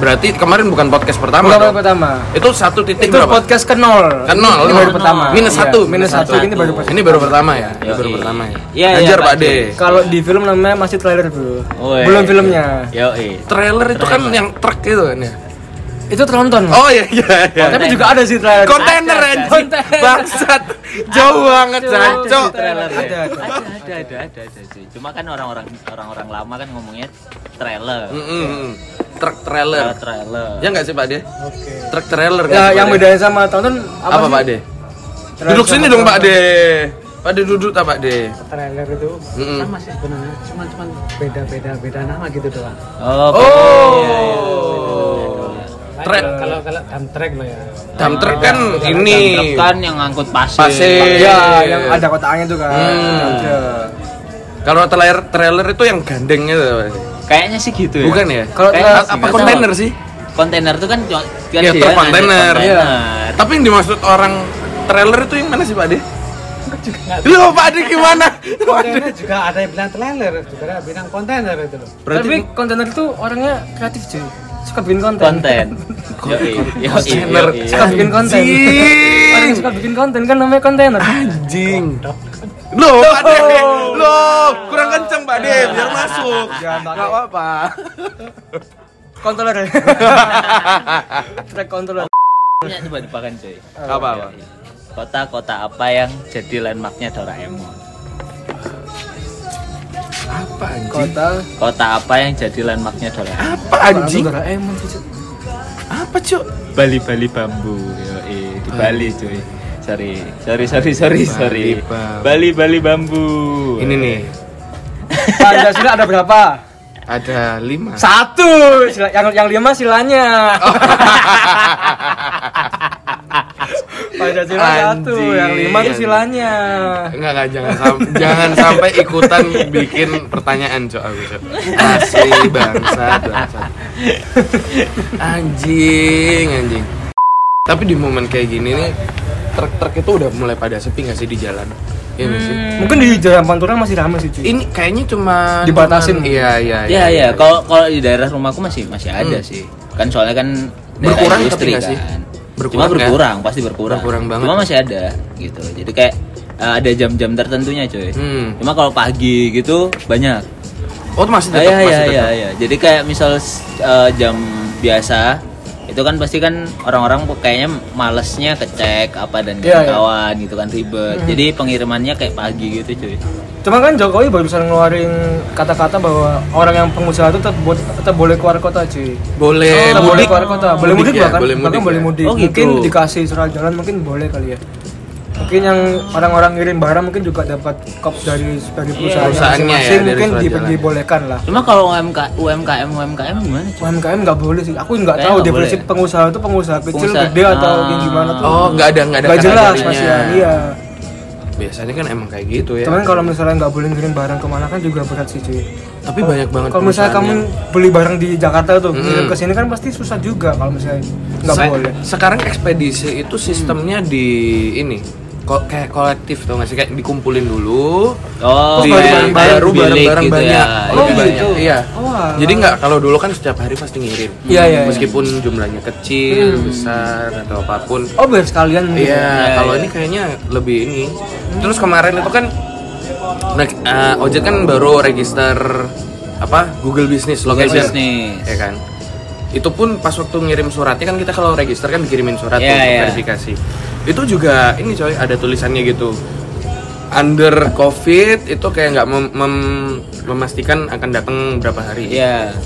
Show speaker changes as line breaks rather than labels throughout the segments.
Berarti kemarin bukan podcast pertama.
Bukan
dong?
podcast pertama.
Itu satu titik
Itu
berapa? Kan
podcast ke nol.
Ke nol,
Ini
nol.
baru pertama.
Minus
Iya,
satu, minus
minus satu.
satu.
Ini baru pertama.
Ini baru pertama ya. Ini
Yoi.
baru pertama ya.
Iya, iya,
Ajar
Pak
Pak Oh, iya,
D.
De.
Kalau di film namanya masih trailer dulu.
Woi.
Belum filmnya.
Yo,
Trailer itu kan
Iya.
yang truk itu kan ya.
Itu tertonton.
Oh iya iya iya.
Hmm. Tapi juga ada sih trailer.
Kontainer
Ada,
anjing.
kontainer.
Bangsat. Jauh banget
Ada sih
jancok.
trailer. Ada,
ya. ada
ada.
ada ada ada ada sih cuma kan orang-orang orang-orang lama kan ngomongnya trailer
Mm-mm, mm. Truk trailer.
Trailer, trailer
Ya enggak sih Pak De?
Oke.
Truk trailer nggak
Iya,
sih,
Ya, yang
Pak De?
bedanya sama tonton apa,
apa
sih?
Pak De?
Trailer
Duduk
sama
sini dong Pak
tonton.
De. Pak De duduk tak Pak De?
trailer itu
Mm-mm.
sama sih sebenarnya cuman cuman beda beda beda nama gitu doang
oh,
Iya,
Oh. Trek
kalau kalau dump track lo ya
dam truk kan ini
kan yang ngangkut pasir,
Pasir.
Ya,
Iya.
yang ada kotaknya itu kan.
Hmm.
Ada.
kalau trailer trailer itu yang gandengnya tuh, Pak De.
kayaknya sih gitu ya
bukan ya
Kalau
Kayaknya
eh,
sih,
apa
nggak
kontainer
tahu.
sih
kontainer tuh kan cuma- kan
Ya,
dia
truk
ada
kontainer.
Iya.
tapi yang dimaksud orang trailer itu yang mana sih Pak De? Loh Pak De gimana? Pak De.
kontainer juga ada yang bilang trailer juga ada yang bilang kontainer itu loh
Berarti iya,
Tapi kontainer itu orangnya kreatif cuy. Suka bikin konten.
konten Yoi, yoi,
kontainer
yoi.
Suka bikin konten. Orang yang
Iya. Anjing.
suka bikin konten kan namanya kontainer.
Anjing. Loh Pak De. Loh, kurang kenceng Pak De biar masuk. Jangan Iya, apa-apa.
Controller. Track controller.
punya coba tebakan cuy
Apa-apa.
kota-kota apa yang jadi landmarknya Doraemon
Apa anjing?
Kota.
kota apa yang jadi landmarknya Doraemon
Apa anjing?
Doraemon sih, cuy.
Apa cuk?
Bali Bali bambu yoi di Bali cuy sorry sorry sorry sorry sorry
bambu.
Bali Bali bambu
Ini nih.
Pancasila ada berapa?
Ada lima.
Satu. Sila, yang yang lima silanya. Pancasila satu,
Anjing.
yang lima tuh silanya.
Enggak enggak jangan sam- jangan sampai ikutan bikin pertanyaan cok aku cok. Asli bangsa bangsa. Anjing anjing. Tapi di momen kayak gini nih truk-truk itu udah mulai pada sepi nggak sih di jalan? Iya nggak sih?
Hmm.
Mungkin di Jalan Pantura masih ramai sih cuy.
Ini kayaknya cuma
Dibatasin.
cuman- Iya iya.
ya ya kalau kalau di daerah rumahku masih masih ada sih kan soalnya kan daerah
Hmm. Berkurang tapi
industri
nggak sih? Berkurang
berkurang cuma
nggak?
berkurang pasti berkurang
Berkurang banget.
cuma masih ada gitu jadi kayak eh, ada jam-jam tertentunya cuy
Hmm.
cuma kalau pagi gitu banyak
Oh masih
Ah,
tetap
Iya iya
masih
iya
tetap.
iya. Jadi kayak misal s- eh, jam biasa itu kan pasti kan orang-orang kayaknya malesnya kecek apa dan
Iya, iya.
kawan gitu kan ribet.
Mm-hmm.
Jadi pengirimannya kayak pagi gitu cuy.
Cuma kan Jokowi barusan ngeluarin kata-kata bahwa orang yang pengusaha itu tetap, bo- tetap boleh keluar kota cuy.
Oh. Boleh
Tetap Eh, Oh, boleh
mudik.
keluar kota, boleh mudik,
ya,
bahkan
boleh
bahkan
mudik.
boleh
ya.
mudik.
Oh, gitu.
Mungkin dikasih surat jalan mungkin boleh kali ya. Mungkin yang orang-orang ngirim barang mungkin juga dapat kop dari dari perusahaan
Perusahaannya ya, dari
mungkin
surat
di-
jalan.
dibolehkan lah.
Cuma kalau UMK, UMKM UMKM gimana? cuy?
UMKM nggak boleh sih. Aku nggak
Eh,
Kayaknya
tahu
nggak
definisi
boleh.
pengusaha itu pengusaha kecil,
Pengusaha-
gede atau
Ah.
yang gimana tuh.
Oh nggak ada nggak ada
nggak jelas
kategorinya.
masih ya. Iya.
Biasanya kan emang kayak gitu ya.
Cuman kalau misalnya nggak boleh ngirim barang kemana kan juga berat sih cuy.
Tapi banyak banget.
Kalau misalnya kamu
perusahaannya.
beli barang di Jakarta tuh,
Mm.
ngirim ke sini kan pasti susah juga kalau misalnya nggak
Saya-
boleh.
Sekarang ekspedisi itu sistemnya di ini ko- kayak kolektif tuh nggak sih kayak dikumpulin dulu
Oh,
Terus
di-
baru barang-barang,
baru
bilik
barang-barang
gitu
banyak
ya.
Oh,
Lebih
gitu.
banyak, iya
Wah.
jadi nggak kalau dulu kan setiap hari pasti ngirim
Iya, iya, Hmm. iya.
meskipun jumlahnya kecil besar atau apapun
Oh biar sekalian mungkin.
Iya,
Iya,
kalau
iya.
ini kayaknya lebih ini. Terus kemarin itu kan nah, eh, ojek kan baru register apa Google Business
Google
location.
Business.
Ya kan. Itu pun pas waktu ngirim suratnya kan kita kalau register kan dikirimin surat
Iya,
tuh,
iya.
verifikasi. Itu juga ini coy ada tulisannya gitu. Under COVID itu kayak nggak mem- mem- memastikan akan datang berapa hari.
Iya.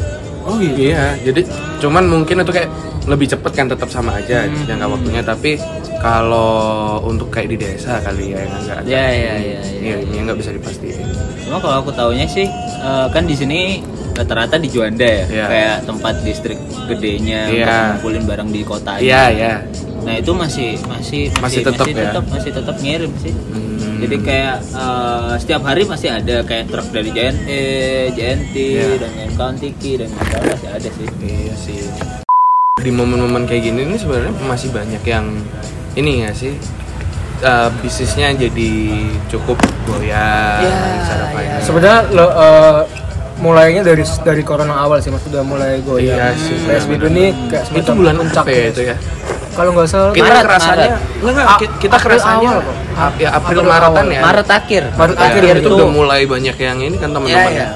Oh gitu.
Iya, jadi cuman mungkin itu kayak lebih cepet kan tetap sama aja
Hmm.
jangka waktunya tapi kalau untuk kayak di desa kali ya yang enggak ada
Iya, iya, iya,
ini,
iya.
ini yang nggak bisa dipastikan.
Cuma kalau aku taunya sih eh, kan di sini rata-rata di Juanda ya,
Iya.
kayak tempat distrik
Iya.
gedenya untuk ngumpulin barang di kota
Iya, iya.
Nah itu masih masih
Masih tetap ya?
tetap- masih tetap ngirim sih.
Hmm.
Jadi kayak eh, setiap hari pasti ada kayak truk dari JNE, JNT,
Iya.
dan Kauntiki dan kawan masih ada sih.
Iya sih. Di momen-momen kayak gini ini sebenarnya masih banyak yang ini ya sih eh, Iya, bisnisnya jadi cukup goyah secara finance.
Sebenarnya lo, eh, mulainya dari dari corona awal sih mas udah mulai goyang.
Iya sih,
PSBB ini kayak
itu
semacam
bulan puncak ya itu ya
Kalau nggak salah
kita
Maret,
kerasanya
Maret.
enggak enggak
A-
ki- kita
April
kerasanya
awal kok.
Ap- ya April Maretan ya
Maret akhir.
Maret akhir
akhir ya, itu
tuh.
udah mulai banyak yang ini kan
Ya,
teman-teman
ya.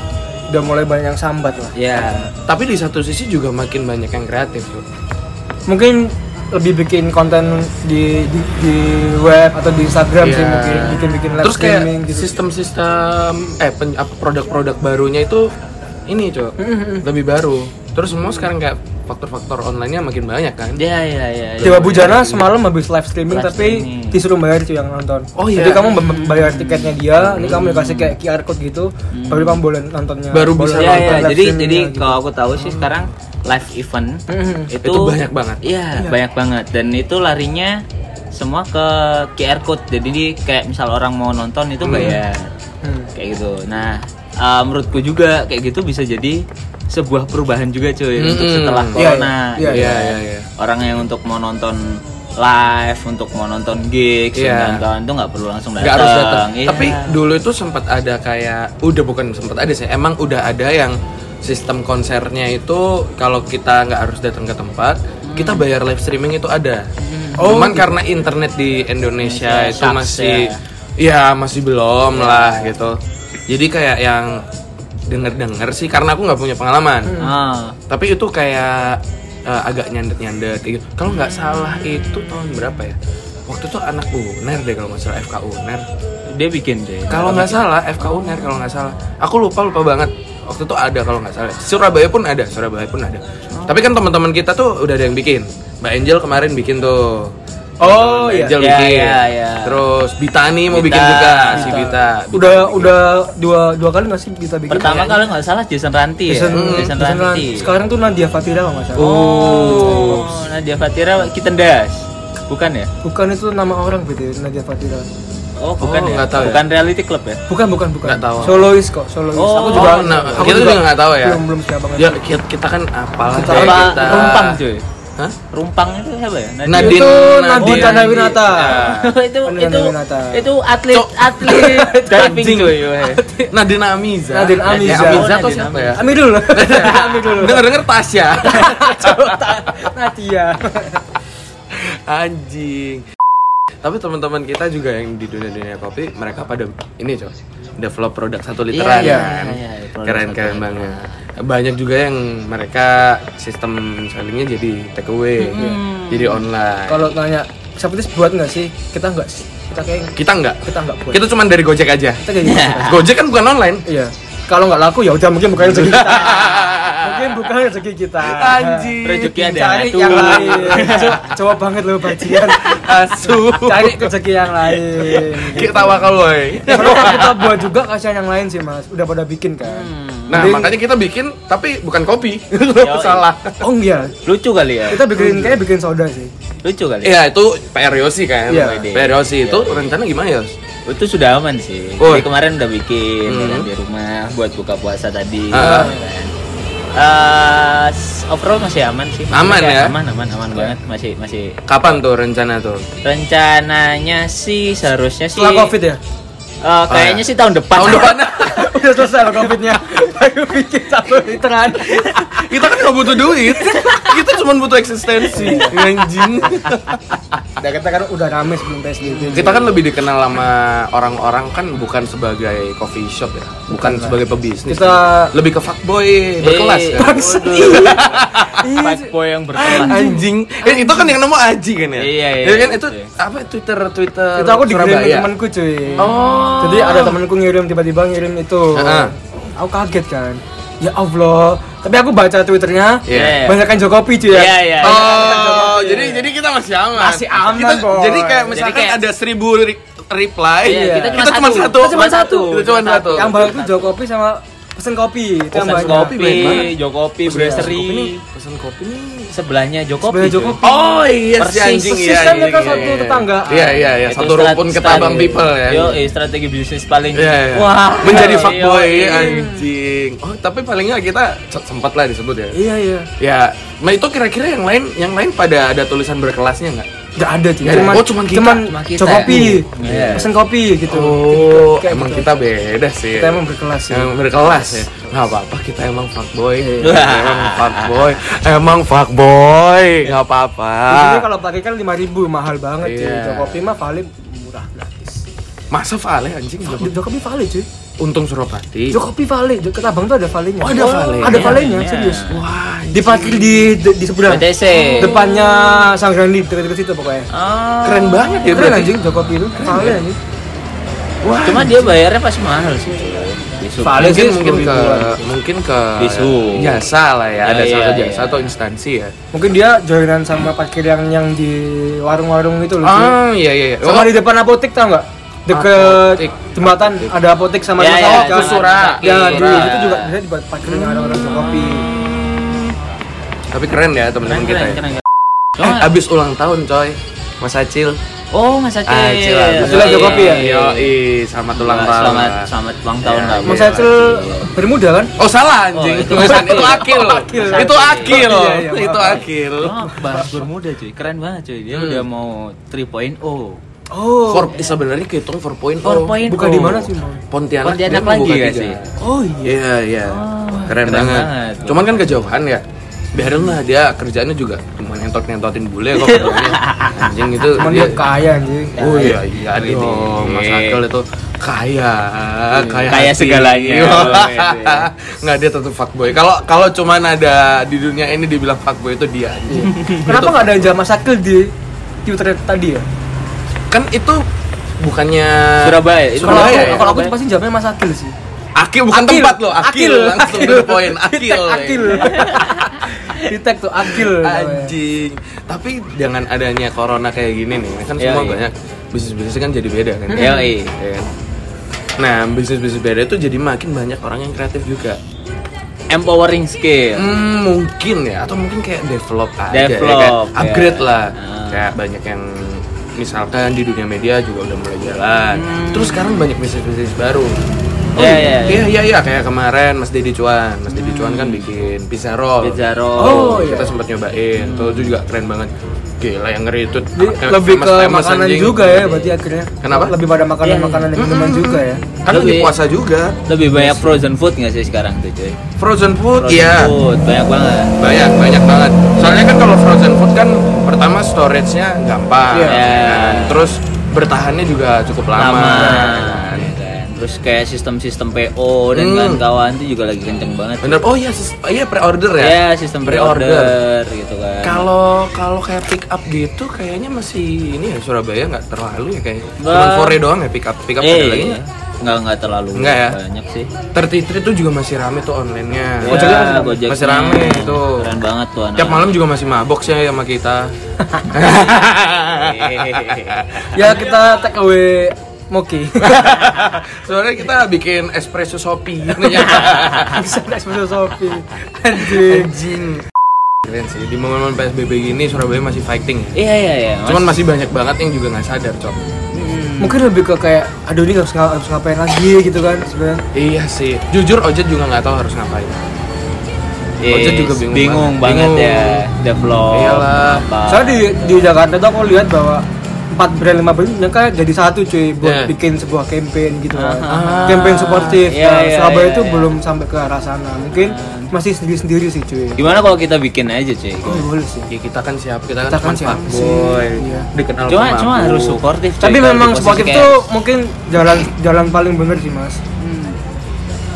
udah mulai banyak yang sambat lah.
Ya.
tapi di satu sisi juga makin banyak yang kreatif tuh
Mungkin lebih bikin konten di di, di web atau di Instagram sih
Iya.
mungkin bikin-bikin live
terus kayak
streaming gitu.
sistem-sistem eh pen- apa, produk-produk barunya itu ini cok lebih baru terus semua sekarang kayak faktor-faktor onlinenya makin banyak kan
Ya, ya, ya. ya.
Iya,
Dewa Bujana semalam habis live streaming
Live
tapi
streaming.
disuruh bayar itu yang nonton.
Oh, iya. Hmm.
Jadi kamu mem- bayar tiketnya dia, ini kamu dikasih kayak QR code gitu, baru kamu boleh nontonnya.
Baru bisa
boleh
Iya,
Ya,
nonton
ya.
live
Jadi
streamingnya
jadi
gitu.
kalau aku tahu sih sekarang live event
Mhm.
itu,
Itu banyak banget.
Iya, banyak banget dan itu larinya semua ke QR code. Jadi di- kayak misal orang mau nonton itu bayar.
Hmm.
Kayak gitu. Nah, eh, menurutku juga kayak gitu bisa jadi sebuah perubahan juga cuy untuk
Mm-mm.
setelah
Iya,
iya.
corona. gitu.
Iya,
iya iya iya
orang yang untuk mau nonton live, untuk mau nonton gigs,
Iya.
nonton itu nggak perlu langsung datang.
nggak harus datang.
Iya.
Tapi dulu itu sempat ada kayak udah bukan sempat ada sih. Emang udah ada yang sistem konsernya itu kalau kita nggak harus datang ke tempat, kita bayar live streaming itu ada. Cuman karena internet di Hmm. Oh, gitu. Indonesia
Indonesia
itu
sucks
masih ya masih belum lah gitu. Jadi kayak yang denger-denger sih karena aku nggak punya pengalaman
Ah.
tapi itu kayak eh, agak nyandet nyandet gitu kalau nggak salah itu tahun berapa ya waktu itu anak uner deh kalau nggak salah FK uner
dia bikin deh.
kalau nggak salah FK uner kalau nggak salah aku lupa lupa banget waktu itu ada kalau nggak salah Surabaya pun ada Surabaya pun ada
Oh.
tapi kan teman-teman kita tuh udah ada yang bikin Mbak Angel kemarin bikin tuh
Oh,
Mbak
iya. ya.
Angel
Iya,
bikin
iya, iya.
terus Bitani mau
Bita.
bikin juga si Bita
udah udah dua dua kali masih kita bikin.
Pertama kalau nggak salah Jason Ranti ya.
Jason-
Jason
Jason Ran-
Ranti.
Sekarang tuh Nadia Fatira kalau nggak salah.
Oh, Nadia Fatira Kitendas. Bukan ya?
Bukan itu nama orang gitu Nadia Fatira.
Oh, bukan
Oh,
ya.
nggak tahu ya.
bukan reality club ya.
Bukan bukan bukan.
Nggak tahu.
Solois kok, solois.
Oh,
aku juga.
oh, nah,
aku
kita juga nggak tahu ya.
Belum belum siapa banget.
ya kita, kita kan apalah
Kita
deh,
Apa
kita
Rumpang cuy.
Hah?
Rumpang itu siapa ya?
Nadine,
Itu
Nadine.
Nadine Tanawinata.
Nah.
itu
Nadine
itu
Winata.
itu atlet
Cok.
atlet diving
Anjing. Ah.
cuy. weh.
Nadine Amiza.
Nadine Amiza.
Eh, Amiza atau
eh. Nadine
siapa
Amiza.
ya?
Ambil dulu. Ambil dulu.
Dengar dengar Tasya.
Nadia.
Anjing. Tapi teman-teman kita juga yang di dunia-dunia kopi, mereka pada ini coy, develop produk satu literan
Iya,
kan.
iya, iya, produk satu
Keren-keren
literan.
banget. Banyak juga yang mereka sistem sellingnya jadi take away,
Hmm.
jadi online.
Kalau nanya, seperti buat nggak sih? Kita nggak sih. Kita kayak
kita nggak,
kita nggak buat.
kita cuman dari Gojek aja.
Kita kayak gitu.
Ah.
Gojek kan bukan online.
Iya. Kalau nggak laku ya udah mungkin bukan rezeki kita. mungkin bukan rezeki kita.
Ah.
Anjing.
Rezeki ada yang
Iya, Cari
ngatur.
yang lain. Co- Coba banget lo bajian.
Asu.
Cari rezeki yang lain.
Kita wakal woy.
Kalau kita buat juga kasihan yang lain sih mas. Udah pada bikin kan.
Hmm.
Nah,
Mending-
makanya kita bikin tapi bukan kopi. Kalau Salah.
Oh iya.
Lucu kali ya.
Kita bikin kayak bikin soda sih.
Lucu kali. ya.
Iya, itu PR Yosi kan.
Iya.
PR Yosi itu rencana gimana, ya? Yos?
itu sudah aman sih.
Oh.
Jadi kemarin udah bikin ya kan,
Hmm.
di rumah buat buka puasa tadi.
Ah.
ya kan. Eh, s- overall masih aman sih. Maksudnya
Aman
kayak
ya?
Aman, aman, aman banget. Masih, masih.
Kapan tuh rencana tuh?
Rencananya sih seharusnya sih.
Setelah covid ya.
eh, kayaknya
Ah.
sih tahun depan.
Tahun depan.
Udah selesai loh covidnya. Baru bikin satu literan.
kita kan nggak butuh duit. kita cuma butuh eksistensi. Anjing.
Udah kita kan udah rame sebelum psbb.
kita kan lebih dikenal sama orang-orang kan bukan sebagai coffee shop ya, bukan sebagai pebisnis.
Kita-
lebih ke fuckboy berkelas
Eh,
kan.
Bangsa.
Fuckboy yang berkelas.
Anjing. Eh, itu kan yang nemu Aji kan ya?
Iya, iya,
Ya kan
iya.
itu apa Twitter Twitter
itu aku dikirim
Surabaya.
temanku cuy
Oh.
jadi ada temanku ngirim tiba-tiba ngirim itu
Heeh.
aku kaget kan ya allah tapi aku baca twitternya
Iya.
Iya.
banyak yang jokopi cuy ya
Iya, iya.
Oh, jadi jadi kita masih aman.
Masih aman,
Kita,
Boy.
jadi kayak
Jadi
misalkan
kayak-
ada seribu re- reply,
Iya,
kita
kita,
cuma
cuma
satu.
satu.
Kita cuma satu.
Kita cuma satu.
yang baru tuh jokopi sama pesen kopi itu yang
Pesan
banyak
kopi,
banyak banget.
Jokopi, Brasserie.
pesan kopi nih.
Sebelahnya
Sebelahnya
Jokopi. cuy.
Jokopi.
Oh iya si
Persis.
anjing
Persis
iya,
kan
iya,
mereka
iya,
satu
iya.
tetanggaan.
Iya iya iya,
Itu
satu rumpun
strat-
ketabang
strat-
people ya.
Yo, eh, strategi bisnis paling.
Iya, iya.
Wah,
menjadi
yo,
fuckboy
iya.
anjing. Oh, tapi paling nggak kita se- sempat lah disebut ya.
iya iya
Ya, nah itu kira-kira yang lain yang lain pada ada tulisan berkelasnya nggak?
nggak ada cuy
Nggak ada. Oh, cuman kita.
cuman
Cuma kita.
cok kopi
Iya.
pesen kopi gitu
Oh,
Kayak
emang
gitu.
kita beda sih.
Kita emang berkelas sih.
Emang berkelas ya. Enggak apa-apa, kita emang fuckboy.
Iya.
emang fuckboy. Emang fuckboy. Enggak apa-apa.
Di sini kalau pakai kan lima ribu mahal banget cuy
Iya.
cok kopi mah valid murah gratis
Masa Vale anjing Joko-
cok kopi valid cuy
Untung Surabati.
cok kopi valid cok abang tuh ada
Iya.
valenya
Oh, ada valenya.
ada valenya
Valenya.
serius
Wah, iya,
di parkir di di, di seberang
BTC.
depannya sang Grandi dekat-dekat situ pokoknya
Oh.
keren banget ya
keren
berarti. iya.
anjing cok kopi itu valid anjing
Wah.
Cuma dia bayarnya pas mahal sih. Besok.
Valid.
mungkin
sih
mungkin ke
10.000-an.
mungkin ke
Bisu.
jasa lah ya,
Ya,
ada satu
iya,
jasa
iya.
atau instansi ya.
mungkin dia joinan sama parkir yang yang di warung-warung itu loh cuy.
Ah, iya iya. iya.
sama
Oh,
di depan apotek tau nggak deket
Apotek. Iya,
jembatan ada apotek sama
Ya,
rumah
ya,
sakit
ke Sura.
ya di
Sura.
itu juga bisa dibuat parkir dengan orang-orang jual kopi
Ah, tapi keren ya
Keren,
teman-teman kita.
keren,
ya.
keren.
Eh,
Cuma,
abis ulang tahun coy. Mas Acil. Ah,
oh Mas Acil. Iya,
Acil abis
Acil ada kopi ya?
Yo, selamat ulang tahun.
Selamat,
Mas.
selamat ulang tahun
Iya,
lah.
Mas Acil bermuda kan
Oh salah anjing.
Oh, itu-
Tulisan itu akil.
Akil.
Itu akil.
Iya, iya, maaf.
Itu akil.
Cuma bahas bermuda cuy, keren banget cuy. Dia
Hmm.
udah mau 3.0
oh
For, sebenarnya kehitung 4.0.
4.0
bukan di mana sih Mau?
Pontianak, dia
Pontianak
mau
lagi
buka
nggak
tiga.
sih?
oh iya
Iya, iya.
Oh,
Keren,
keren
banget.
banget.
Cuman kan kejauhan ya. Biarin lah dia kerjaannya juga cuma nentot-nentotin bule kok kerjaannya. Anjing itu
cuman
dia
dia kaya anjing
Iya. Oh iya iya
Kaya
dong,
deh.
Mas Akil itu kaya, kaya,
Iya. Kaya
hati. Iya.
segalanya. Iya,
Nggak dia tetap fuckboy. Kalau kalau cuman ada di dunia ini dibilang fuckboy itu dia. anjing.
kenapa nggak ada jamaah sakil di Twitter tadi ya
Kan itu bukannya
Surabaya, itu
kalau aku
Surabaya. ya?
kalau aku pasti jamnya mas sakil sih
Akil bukan
Akil.
tempat loh, Akil,
Akil.
langsung to the point, Akil.
Tag akil di tag tuh akil
Anjing. Tapi dengan adanya corona kayak gini nih, kan
Iya,
semua
iya.
banyak bisnis-bisnis kan jadi beda kan.
Yo, iya.
Iya kan? Nah, bisnis-bisnis beda itu jadi makin banyak orang yang kreatif juga.
empowering skill.
Hmm, mungkin ya atau mungkin kayak develop aja ya
Develop,
kan?
ya.
upgrade lah
Ah.
kayak banyak yang misalkan di dunia media juga udah mulai jalan
Hmm.
terus sekarang banyak bisnis bisnis baru
Iya, iya, iya.
iya iya iya. kayak kemarin Mas Dedi Cuan Mas Dedi Cuan kan bikin pizza roll
Hmm. Pizza
Oh,
roll.
iya.
kita sempat nyobain tuh itu juga keren banget gila yang ngeri itu
Jadi
Kayak
lebih ke
famous-famous
makanan
anjing.
juga ya berarti akhirnya
Kenapa?
lebih pada makanan makanan dan minuman juga ya
kan lagi
Lebih-
puasa juga
Lebih banyak frozen food nggak sih sekarang tuh cuy?
frozen food
Frozen
iya
food banyak banget.
banyak banyak banget soalnya kan kalau frozen food kan pertama storage-nya gampang
Iya.
ya kan? terus bertahannya juga cukup lama,
Lama. ya kan? Terus kayak sistem-sistem PO dan
Hmm.
kawan-kawan itu juga lagi kenceng banget.
bener oh iya sis- oh iya pre-order ya
Ya, sistem pre-order gitu kan.
kalau kalau kayak pick up gitu kayaknya masih ini ya Surabaya nggak terlalu ya kayaknya cuma
Nggak.
fore doang ya pick up pick up ada lagi
eh,
nggak?
nggak nggak terlalu
Nggak ya?
banyak sih.
33 tuh juga masih rame tuh online-nya
Ya,
Ojeknya masih-
Gojeknya.
masih rame itu
Keren banget tuh anak.
tiap malam juga masih mabok sih sama kita
ya kita take away Moki
Sebenarnya kita bikin espresso ya. sopi.
bisa naik sepeda sopi anjing
Anjing. Keren sih. Di momen-momen PSBB gini Surabaya masih fighting. ya.
Iya iya iya.
Cuman masih banyak banget yang juga nggak sadar, Cok.
mungkin lebih ke kayak aduh ini harus, ngap- harus ngapain lagi gitu kan sebenarnya
Iya sih. Jujur Ojet juga nggak tahu harus ngapain.
Yes,
Ojek juga bingung banget.
Iya, banget, ya
Bingung.
develop.
Iyalah.
apa.
soalnya di di Jakarta tuh aku lihat bahwa empat brand lima brand mereka jadi satu cuy buat
Ya.
Yeah.
bikin sebuah campaign gitu kan
Ah.
campaign sportif
Iya,
Nah,
iya,
Surabaya
iya,
itu
iya.
belum sampai ke arah sana mungkin masih sendiri sendiri sih cuy
Gimana kalau kita bikin aja cuy?
Oh, boleh sih
Ya kita kan siap, kita kan
Kita
cuma
kan siap sih,
fuckboy.
iya.
Dikenal
Cuma
pemabuk.
cuma harus suportif.
tapi memang sportif itu mungkin jalan jalan paling bener sih mas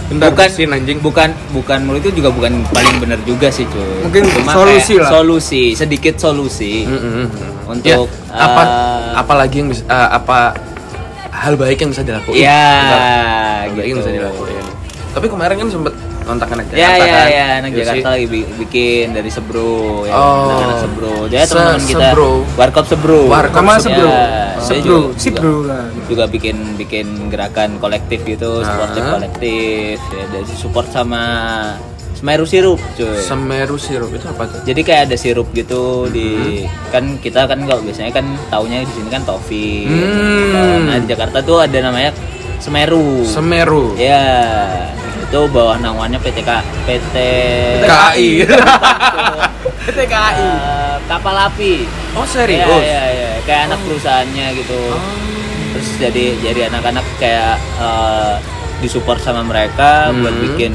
Iya,
Bentar,
bukan
bersihin, anjing.
bukan bukan menurut itu juga bukan paling benar juga sih cuy.
Mungkin
Cuma
solusi
kayak
lah.
Solusi sedikit solusi.
Mm-mm.
Untuk,
Ya, apa
eh,
apalagi yang bisa eh, apa hal baik yang bisa dilakuin.
Iya,
Bentar. Hal baik yang
gitu.
bisa dilakuin. Tapi kemarin kan sempet kontak anak Jakarta
Ya ya
kan.
ya anak
Iya
Jakarta
sih.
lagi bi- bikin dari Sebro ya.
Oh.
Anak-anak Sebro. Ya
Se-
teman-teman kita.
Sebro.
Warkop Sebro.
Warkop
sama
Sebro.
sebro
Ya, saya
sebro kan.
juga-
sip
juga-
bro lah
juga bikin bikin gerakan kolektif gitu,
Ah.
sportif kolektif ya dari support sama Semeru sirup cuy.
Semeru sirup itu apa tuh?
Jadi kayak ada sirup gitu di
Mm-hmm.
kan kita kan kalau biasanya kan taunya di sini kan toffee.
Hmm.
Nah, di Jakarta tuh ada namanya Semeru.
Semeru.
ya, itu bawah naungannya PTK PT
KI.
PTKI Eh, kapal api.
Oh
Iya,
serius? Oh.
iya, iya. Kayak anak perusahaannya gitu. Terus jadi jadi anak-anak kayak eh, disupport sama mereka buat
Hmm. Iya.
bikin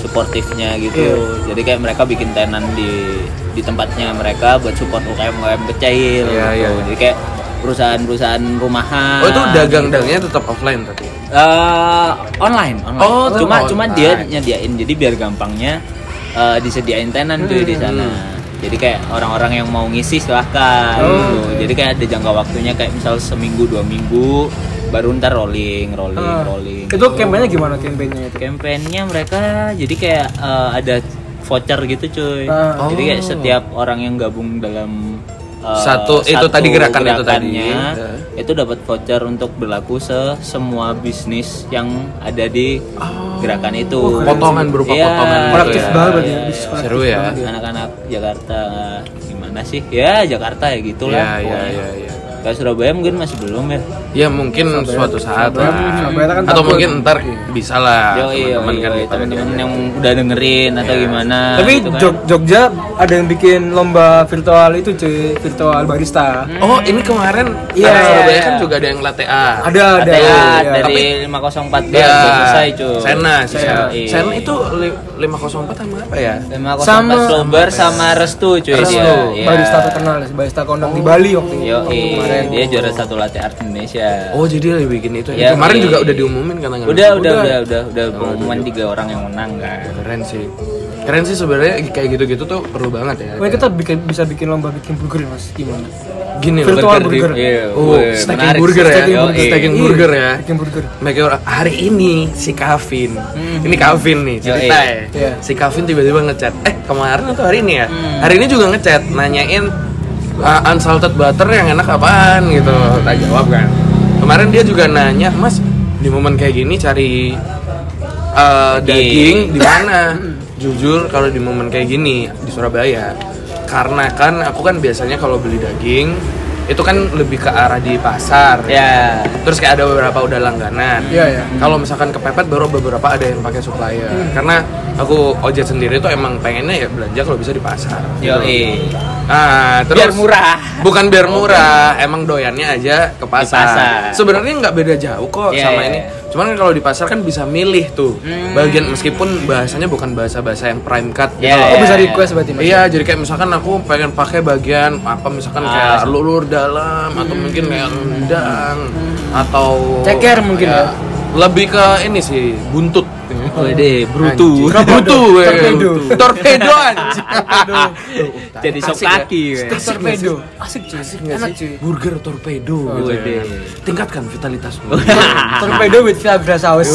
suportifnya gitu. Jadi kayak mereka bikin tenan di di tempatnya mereka buat support UKM-UKM kecil
Iya,
gitu.
iya, iya.
Jadi kayak perusahaan-perusahaan rumahan.
Oh itu dagang-dagangnya tetap offline tapi.
Eh, online, online.
Oh, tetap
cuma cuma
online.
dia nyediain jadi biar gampangnya eh, disediain tenan tuh
Hmm.
di sana. Jadi kayak orang-orang yang mau ngisi silahkan.
Oh.
gitu. Jadi kayak ada jangka waktunya kayak misal seminggu dua minggu baru ntar rolling rolling
Hmm.
Ah.
rolling.
itu kampanye gimana kampanyenya itu
Kampanyenya mereka jadi kayak eh, ada voucher gitu cuy.
Ah.
Jadi kayak setiap orang yang gabung dalam eh,
Oh. Satu- itu tadi gerakan itu tadi.
gerakannya,
Ah.
itu dapat voucher untuk berlaku se semua bisnis yang ada di gerakan itu.
Ah. Potongan berupa
Iya,
potongan gitu
kolektif
ya.
banget berarti
iya,
ya, bisnis
iya.
kolektif
Seru ya.
banget
Anak-anak Jakarta gimana sih? Ya Jakarta ya gitulah.
Iya iya
pokoknya.
iya. iya.
Kalau Surabaya mungkin masih belum ya.
Ya mungkin suatu saat
Surabaya-
lah.
Surabaya kan
Atau
takut.
mungkin ntar bisa lah
Iya. Yo, iya,
teman-teman
iya,
kan Iya.
iya,
kita.
teman-teman yang udah dengerin atau gimana.
tapi
gitu kan.
Jog- Jogja ada yang bikin lomba virtual itu cuy virtual barista
Hmm.
Oh ini kemarin
Iya,
karena Surabaya
iya.
kan juga ada yang latte art.
ada ada
ada
iya.
dari
Tapi-
504
Ya,
bar udah selesai cuy.
Sena sih Sena.
Iya.
Sena itu li- 504 sama apa ya?
504
Sama-
Slobar sama Restu cuy
Iya. Restu.
dia. Iya.
barista terkenal sih barista kondang di Bali waktu itu
Yo, dia juara satu latte art Indonesia.
Oh jadi lebih bikin itu. ya
Ya,
kemarin
iya.
juga udah diumumin kan tanggal
udah, udah,
berapa?
udah, udah, udah, pengumuman tiga orang yang menang kan.
Keren sih. Keren sih sebenarnya kayak gitu-gitu tuh perlu banget ya.
Wah, kita bikin, bisa bikin lomba bikin burger ya, mas gimana
Gini loh,
Virtual
di-
burger.
Iya,
Oh,
weh,
stacking
menarik.
burger ya.
Stacking burger.
Stacking
Iya,
burger ya.
bikin burger
Make your- hari ini si Kavin, ini Kavin nih cerita
Hmm. Yoi.
ya.
Iya.
Si Kavin tiba-tiba ngechat. Eh kemarin atau hari ini ya?
Hmm.
Hari ini juga ngechat, nanyain uh, unsalted butter yang enak apaan gitu. Tak jawab kan. Kemarin dia juga nanya, Mas di momen kayak gini cari uh, daging di mana? Jujur kalau di momen kayak gini di Surabaya, karena kan aku kan biasanya kalau beli daging itu kan lebih ke arah di pasar
Ya,
terus kayak ada beberapa udah langganan
Iya, iya. Hmm.
kalau misalkan kepepet baru beberapa ada yang pakai supplier karena aku ojek sendiri tuh emang pengennya ya belanja kalau bisa di pasar
yo, iya.
nah terus
biar murah.
bukan biar murah emang doyannya aja ke pasar,
pasar.
sebenarnya nggak beda jauh kok
Iya,
sama
iya, Hmm.
ini
iya.
cuman kan kalau di pasar kan bisa milih tuh bagian meskipun bahasanya bukan bahasa bahasa yang prime cut gitu
Iya,
loh.
oh bisa
iya.
request berarti mas
Iya, jadi kayak misalkan aku pengen pakai bagian apa misalkan kayak lulur dalam atau mungkin kayak rendang atau
Ceker mungkin
ya. Lebih ke ini sih buntut.
Wede,
Brutu, brutu, weh.
Torpedo.
torpedo, anjing.
Jadi sok
Asik ya?
kaki. weh.
Asik
torpedo
nggak
asik cuy asik
sih? Asik
enak
nggak sih?
cuy
Burger torpedo. gitu ya.
Wede.
Tingkatkan vitalitas.
torpedo with Viagra saus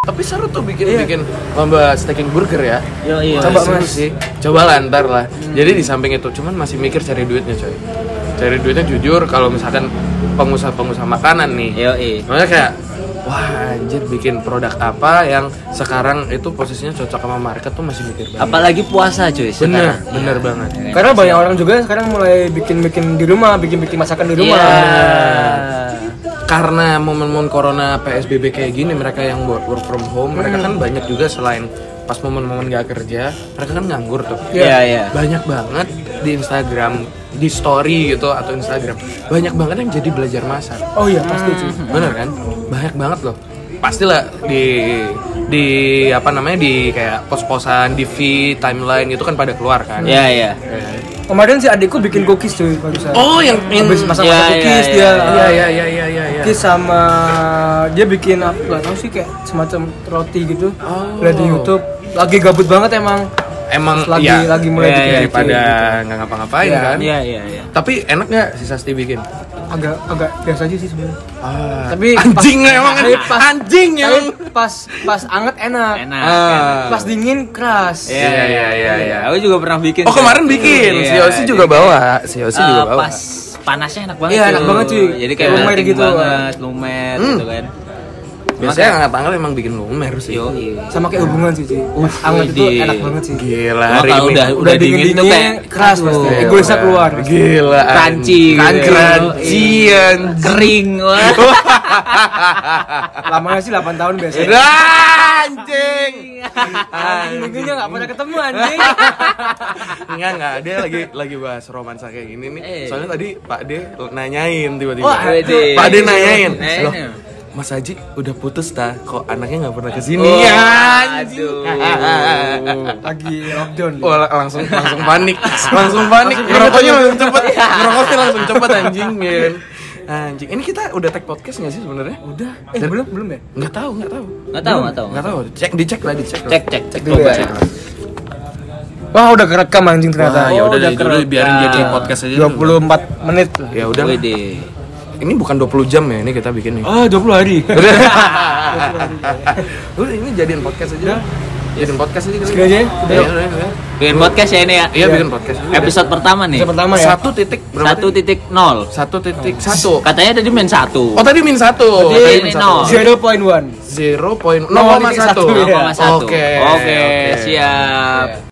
Tapi seru tuh bikin bikin lomba stacking burger ya.
Yo,
Coba
Coba, Mas.
sih. Coba lah ntar lah. Jadi di samping itu cuman masih mikir cari duitnya, coy. Cari duitnya jujur kalau misalkan pengusaha-pengusaha makanan nih.
Yo,
Makanya kayak wah anjir bikin produk apa yang sekarang itu posisinya cocok sama market tuh masih mikir banget.
Apalagi puasa cuy
Bener,
sekarang.
bener banget.
karena banyak orang juga sekarang mulai bikin bikin di rumah bikin bikin masakan di
Iya.
rumah
Karena momen-momen corona PSBB kayak gini mereka yang work, work from home, mereka kan banyak juga selain pas momen-momen gak kerja, mereka kan nganggur tuh.
Iya, iya.
banyak banget di Instagram di story gitu atau Instagram banyak banget yang jadi belajar masak
oh iya pasti cuy
bener kan banyak banget loh pastilah di di apa namanya di kayak pos-posan di feed timeline itu kan pada keluar kan
Iya, iya.
kemarin si adikku bikin cookies cuy barusan
oh yang yang
habis masak masak
Iya, iya,
cookies
iya.
iya
dia
iya iya iya iya iya.
cookies sama dia bikin apa nggak tahu sih kayak semacam roti gitu
Oh.
lihat di YouTube lagi gabut banget emang
emang
lagi
iya.
lagi mulai
Iya,
bikin
iya,
daripada
bikin
nggak ngapa-ngapain
Iya.
kan
Iya, iya, iya.
tapi enak nggak si Sasti bikin
gitu. agak agak biasa aja sih sebenarnya
tapi
tapi
anjing emang
tapi Ah. pas-
anjing
tapi
emang
pas pas anget enak,
Enak.
Ah.
pas dingin keras
Iya,
Iya,
iya, iya, iya. Aku juga pernah bikin.
Oh kemarin
cuy.
bikin, si
Iya,
Yosi juga bawa, si Yosi
Eh,
juga bawa.
pas panasnya enak banget
Iya,
cuy.
enak banget, cuy.
gitu.
jadi kayak
Lumer
melting
Hmm.
gitu.
banget lumer gitu kan
Biasanya angkat tangan emang bikin lumer sih.
Yo, iya.
sama kayak hubungan sih cuy
Uh,
anget itu
widih.
enak banget sih
Gila,
Cuma
hari
kalau
ini.
udah udah dingin, tuh kayak
keras pasti
Aduh.
egoisnya keluar
Gila.
Crunchy gitu. Iya.
Kan crunchy anjing.
kering wah.
lamanya sih 8 tahun
Iya.
biasanya
Iya.
Dah, anjing.
minggunya nggak pernah ketemu anjing
Enggak enggak, dia lagi lagi bahas romansa kayak gini nih.
Eh.
Soalnya tadi Pak D nanyain tiba-tiba.
Wah, wede.
Pak D nanyain.
Nanyain.
Loh, Mas Haji udah putus ta? Kok anaknya nggak pernah kesini
Oh,
ya?
aduh.
lagi lockdown
Wah, Oh, la- langsung langsung panik, langsung panik. Ngerokoknya langsung cepet, ngerokoknya langsung cepet anjing men. Anjing, ini kita udah tag podcast nggak sih sebenarnya?
udah eh belum belum ya
Nggak tahu, nggak tahu.
Nggak tahu, nggak tahu.
Nggak tahu. Cek dicek lah, dicek. lah.
Cek cek cek
dulu
coba.
ya. wah udah kerekam anjing
Nah,
ternyata
ya
Oh,
udah
udah
dari
Nah.
dulu
kerekam.
biarin jadi podcast aja. dulu.
24 menit lah
Ya udah. lah.
Wede.
Ini bukan 20 jam ya ini kita bikin nih.
Oh.
ah 20 hari
Udah ini jadiin podcast aja. dah. Jadiin podcast aja. Iya, kali.
Segini aja ya?
Udah,
Yuk.
udah, udah.
Bikin podcast ya ini ya.
Iya bikin podcast. aja.
Episode pertama nih.
yang pertama ya
Satu titik berapa?
Satu
tadi?
titik nol.
Satu titik satu.
Katanya tadi main satu.
Oh tadi min satu.
Tadi
min
min
satu.
nol.
0.1
0.0,1
0,1.
Oke.
Iya.
Oke,
Oke.
siap.